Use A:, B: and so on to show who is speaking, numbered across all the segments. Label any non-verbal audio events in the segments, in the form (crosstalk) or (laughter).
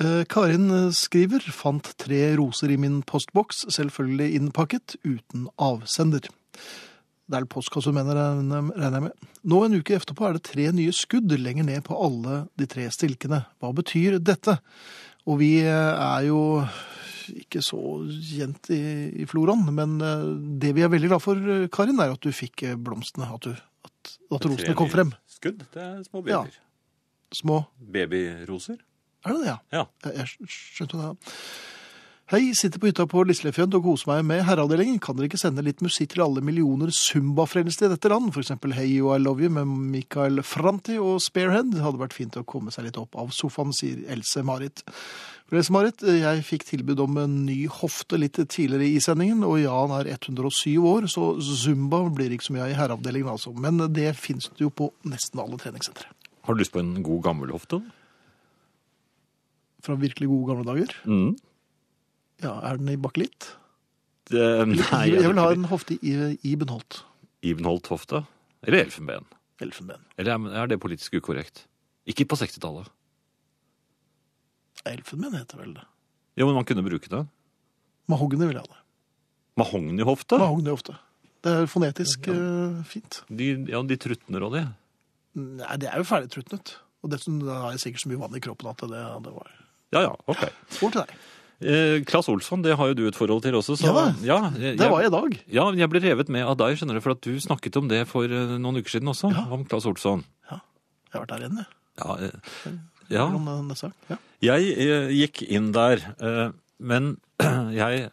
A: Eh, Karin eh, skriver fant tre roser i min postboks, selvfølgelig innpakket, uten avsender. Det er postkassa hun mener, regner regner jeg med. Nå en uke etterpå er det tre nye skudd lenger ned på alle de tre stilkene. Hva betyr dette? Og vi eh, er jo ikke så kjent i, i floraen, men eh, det vi er veldig glad for, eh, Karin, er at du fikk eh, blomstene, at, du, at, at rosene kom frem.
B: Skudd, det er små babyer.
A: Små
B: Babyroser.
A: Er det det, ja?
B: Ja.
A: Jeg- Jeg skj- skjønte det. Hei, sitter på hytta på Lislefjønd og koser meg med herreavdelingen. Kan dere ikke sende litt musikk til alle millioner zumbafrelste i dette land? For eksempel Hey You I Love You med Michael Franti og Sparehead. Hadde vært fint å komme seg litt opp av sofaen, sier Else Marit. For Else Marit, jeg fikk tilbud om en ny hofte litt tidligere i sendingen, og Jan er 107 år, så zumba blir ikke så mye av i herreavdelingen altså. Men det finnes det jo på nesten alle treningssentre.
C: Har du lyst på en god gammel hofte?
A: Fra virkelig gode gamle dager.
C: Mm.
A: Ja, er den i bakkelitt?
C: Det, nei,
A: jeg vil ha en hofte i, i Benholt.
C: Ibenholt hofte? Eller elfenben?
A: Elfenben.
C: Eller er- er det politisk ukorrekt? Ikke på 60-tallet.
A: Elfenben heter vel det.
C: Jo, men man kunne bruke det.
A: Mahogni vil jeg ha det.
C: Mahognihofte?
A: Mahogni ofte. Det er fonetisk eh, fint.
C: De, ja, de trutner og de.
A: Nei, det er jo ferdig trutnet. Og dessuten da har jeg sikkert så mye vann i kroppen at det, det var
C: Ja, ja, ok.
A: Over til deg.
C: Eh, Klaas Olsson, det har jo du et forhold til også. Så,
A: Ja da.
C: ja, jeg,
A: Det var jeg i dag.
C: Ja, men jeg ble revet med av deg, skjønner du, for at du snakket om det for eh, noen uker siden også,
A: Ja.
C: om Klaas Olsson.
A: Jeg har vært der igjen, jeg.
C: Ja, eh, ja.
A: Hvordan, eh, neste gang. Ja.
C: jeg eh, gikk inn der, eh, men (clears throat) jeg...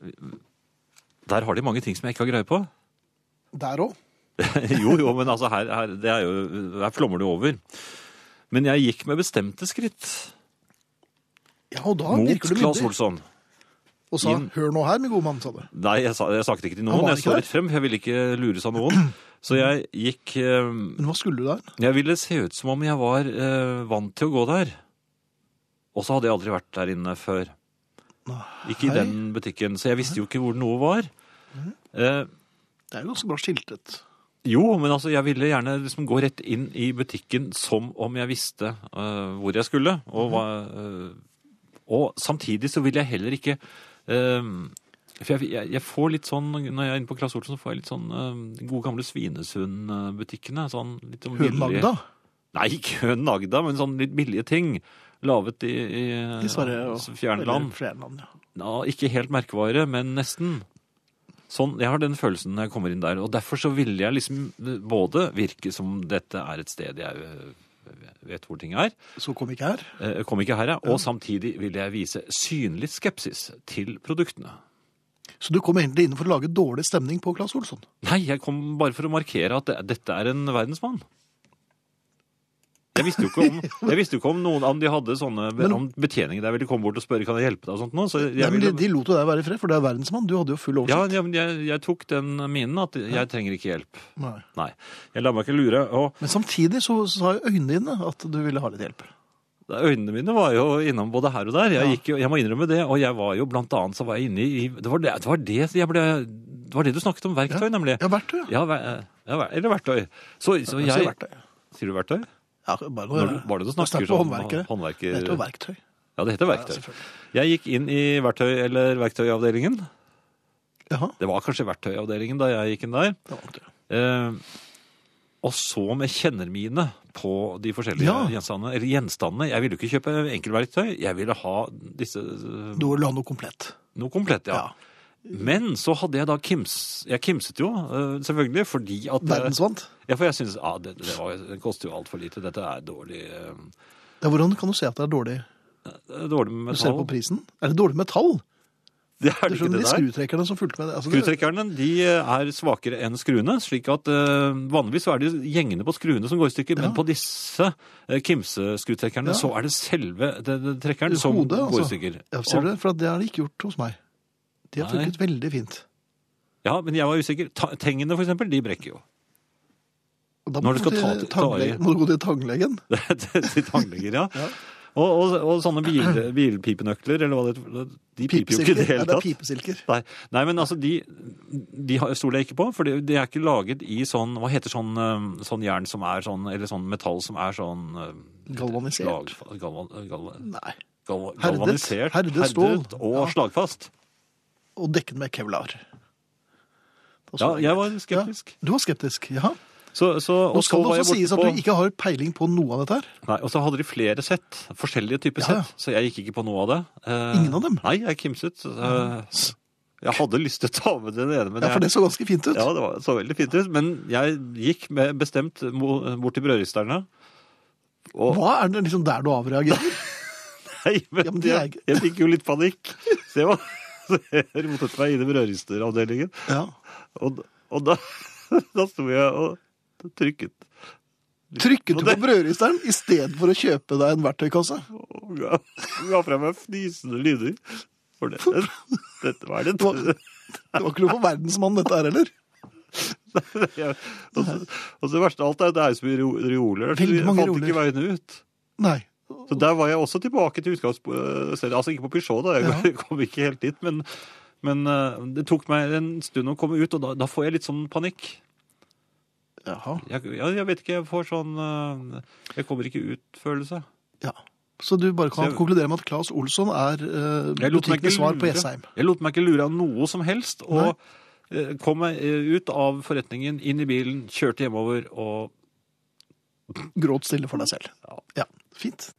C: Der har de mange ting som jeg ikke har greie på. (laughs)
A: Der òg.
C: jo, jo, men altså her, her, det er jo, her flommer det over. Men jeg gikk med bestemte skritt
A: Ja, og da
C: mot
A: virker du
C: Klaas
A: myndig.
C: Olsson.
A: Og sa
C: Inn.
A: 'hør nå her, min gode mann', sa du.
C: Nei, jeg, sa, jeg snakket ikke til
A: Han
C: noen.
A: var
C: Jeg
A: ikke
C: så
A: der?
C: rett frem, for jeg ville ikke lures av
A: (clears throat)
C: noen. Så jeg gikk eh,
A: Men hva skulle du der?
C: Jeg ville se ut som om jeg var eh, vant til å gå der. Og så hadde jeg aldri vært der inne før. Ikke i
A: Nei.
C: den butikken, så jeg visste jo ikke hvor noe var. Eh,
A: Det er jo ganske bra skiltet.
C: jo, men altså, jeg ville gjerne liksom gå rett inn i butikken som om jeg visste eh, hvor jeg skulle. Og, hva, eh, og samtidig så ville jeg heller ikke eh, For jeg, jeg, jeg får litt sånn, når jeg er inne på Claes Olsen, så får jeg litt sånn eh, gode gamle Svinesund-butikkene. Sånn litt sånn
A: Hønen
C: billige-
A: Agda.
C: Nei, ikke hønen Agda, men sånn litt billige ting. Lavet i, i,
A: I Sverige og
C: fjernland.
A: eller altså Fjernland, ja.
C: Ja, ikke helt merkevare, men nesten. Sånn, Jeg har den følelsen når jeg kommer inn der. Og derfor så ville jeg liksom både virke som dette er et sted jeg øh, vet hvor ting er,
A: Så kom ikke her.
C: eh, kom ikke her, jeg, og samtidig ville jeg vise synlig skepsis til produktene.
A: Så du kom egentlig inn for å lage dårlig stemning på Claes Olsson?
C: Nei, jeg kom bare for å markere at det- dette er en verdensmann. Jeg visste jo
A: (laughs)
C: ikke om, jeg visste jo ikke om noen om de hadde sånne
A: Men-
C: om betjeninger der ville komme bort og spørre kan jeg hjelpe deg og sånt. Nå, så
A: Nei,
C: jeg
A: men de,
C: ville,
A: de lot jo deg være i fred, for du er verdensmann. Du hadde jo full
C: ja,
A: oversikt.
C: ja, men jeg, jeg tok den minen at jeg trenger ikke hjelp.
A: Nei.
C: Nei, jeg lar meg ikke lure. Og
A: Men samtidig så så sa jo øynene dine at du ville ha litt hjelp.
C: øynene mine var jo innom både her og der. Jeg,
A: Ja.
C: gikk jo, jeg må innrømme det. Og jeg var jo blant annet så var jeg inne i Det var det, det, var det, jeg ble, det, var det du snakket om, verktøy, nemlig.
A: Ja, verktøy. Ja.
C: Ja, ver- ja, ver- eller verktøy. Så, så
A: Jeg sier
C: jeg
A: verktøy.
C: Sier du verktøy?
A: Ja, bare noe,
C: Når, du- var det du snakker
A: om
C: som
A: håndverkere?
C: håndverker?
A: Det heter jo verktøy.
C: Ja, det heter
A: Ja,
C: verktøy.
A: selvfølgelig.
C: jeg gikk inn i verktøy- eller verktøyavdelingen.
A: Jaha,
C: Det var kanskje verktøyavdelingen da jeg gikk inn der.
A: det var nok det.
C: Eh, og så med kjennermine på de forskjellige
A: Ja.
C: gjenstandene. Eller gjenstandene. Jeg ville jo ikke kjøpe enkeltverktøy. Jeg ville ha disse eh,
A: Du ville ha noe komplett.
C: noe komplett, ja.
A: Ja.
C: Men så hadde jeg da kims... Jeg kimset jo, eh, selvfølgelig, fordi at eh,
A: Verdensvant.
C: Ja, for jeg syns ah, det, det, var- det koster jo altfor lite. Dette er dårlig eh,
A: Ja, hvordan kan du se at det er dårlig?
C: Dårlig
A: Du
C: metall.
A: ser på prisen. Er det dårlig metall?
C: Det er
A: Du
C: det ikke
A: skjønner
C: det
A: de
C: der.
A: skrutrekkerne som fulgte med det. Altså, det
C: Skrutrekkerne de eh, er svakere enn skruene, slik at eh, vanligvis så er det gjengene på skruene som går i stykker, men på disse eh,
A: Ja.
C: Kimse-skrutrekkerne så er det selve det, det, trekkeren som
A: Hodet,
C: går i
A: altså.
C: stykker.
A: ja, ser du
C: Og-
A: det? For at det har de ikke gjort hos meg. De har
C: Nei.
A: funket veldig fint.
C: Ja, men jeg var usikker. Ta, tengene, for eksempel, de brekker jo. (laughs)
A: Og da
C: Når
A: må
C: du skal
A: til
C: ta- ta i-
A: tangle- må du gå til tannlegen.
C: Til
A: (laughs)
C: tannleger, ja. Og, og, og sånne bil, bilpipenøkler, eller hva det heter, de piper jo
A: Pipesilker.
C: ikke i det
A: Nei,
C: hele
A: det er
C: tatt.
A: pipesilker.
C: Nei, nei, men altså, de, de har- stoler jeg ikke på, for de, de er ikke laget i sånn, hva heter sånn, øhm, sånn jern som er sånn, eller sånn metall som er sånn øhm,
A: Galvanisert.
C: lag- galvan, galvan,
A: Nei.
C: gal-
A: Herdet.
C: galvanisert,
A: Herdet stål.
C: og
A: Ja.
C: slagfast.
A: Og dekket med kevlar. Det var
C: Ja,
A: så greit.
C: jeg var skeptisk.
A: Ja, du var skeptisk, ja.
C: Så, så,
A: Nå
C: og så
A: skal det
C: var jeg
A: også
C: borte
A: sies at
C: på-
A: du ikke har peiling på noe av dette her.
C: Nei, og så hadde de flere sett, forskjellige typer
A: Ja, ja.
C: sett, så jeg gikk ikke på noe av det. Eh,
A: Ingen av dem?
C: Nei, jeg kimset. Eh, jeg hadde lyst til å ta med den ene, men
A: Ja, for det så ganske fint ut.
C: jeg, ja, det var, så veldig fint ut. Men jeg gikk med, bestemt mo- bort til brødristerne. Og,
A: Hva er det liksom der du avreagerer?
C: (laughs) nei, men,
A: Ja, men de er
C: jeg,
A: ikke-
C: jeg fikk jo litt panikk. Så jeg, var, (laughs) så jeg rotet meg inn i brødristeravdelingen.
A: Ja.
C: Og, og da, (laughs) da sto jeg og trykket.
A: Trykket du
C: Og
A: på
C: det-
A: brødristeren i stedet for å kjøpe deg en verktøykasse?
C: Og ga, ga fra meg fnisende lyder. For det, dette var (laughs) det
A: Det var ikke noe for verdensmannen dette her heller.
C: Ja, og, så, og så det verste av alt er at det er så mye ro- reoler. Så
A: Veldig
C: vi
A: mange
C: fant ikke veien ut.
A: Nei.
C: Så der var jeg også tilbake til utgangsstedet. Altså ikke på Peugeot, da. Jeg (laughs) kom ikke helt dit. Men, men eh, det tok meg en stund å komme ut, og da, da får jeg litt sånn panikk.
A: Jaha.
C: Jeg, ja, jeg vet ikke, jeg får sånn eh, Jeg kommer ikke ut-følelse.
A: Ja. Så du bare kan
C: Så jeg-
A: konkludere med at Claes Olsson er eh,
C: Jeg lot meg ikke
A: butikkenes svar på
C: lure.
A: Jessheim.
C: Jeg lot meg ikke lure av noe som helst. Og eh, kom meg eh, ut av forretningen, inn i bilen, kjørte hjemover og
A: Gråt stille for deg selv. Ja. Fint.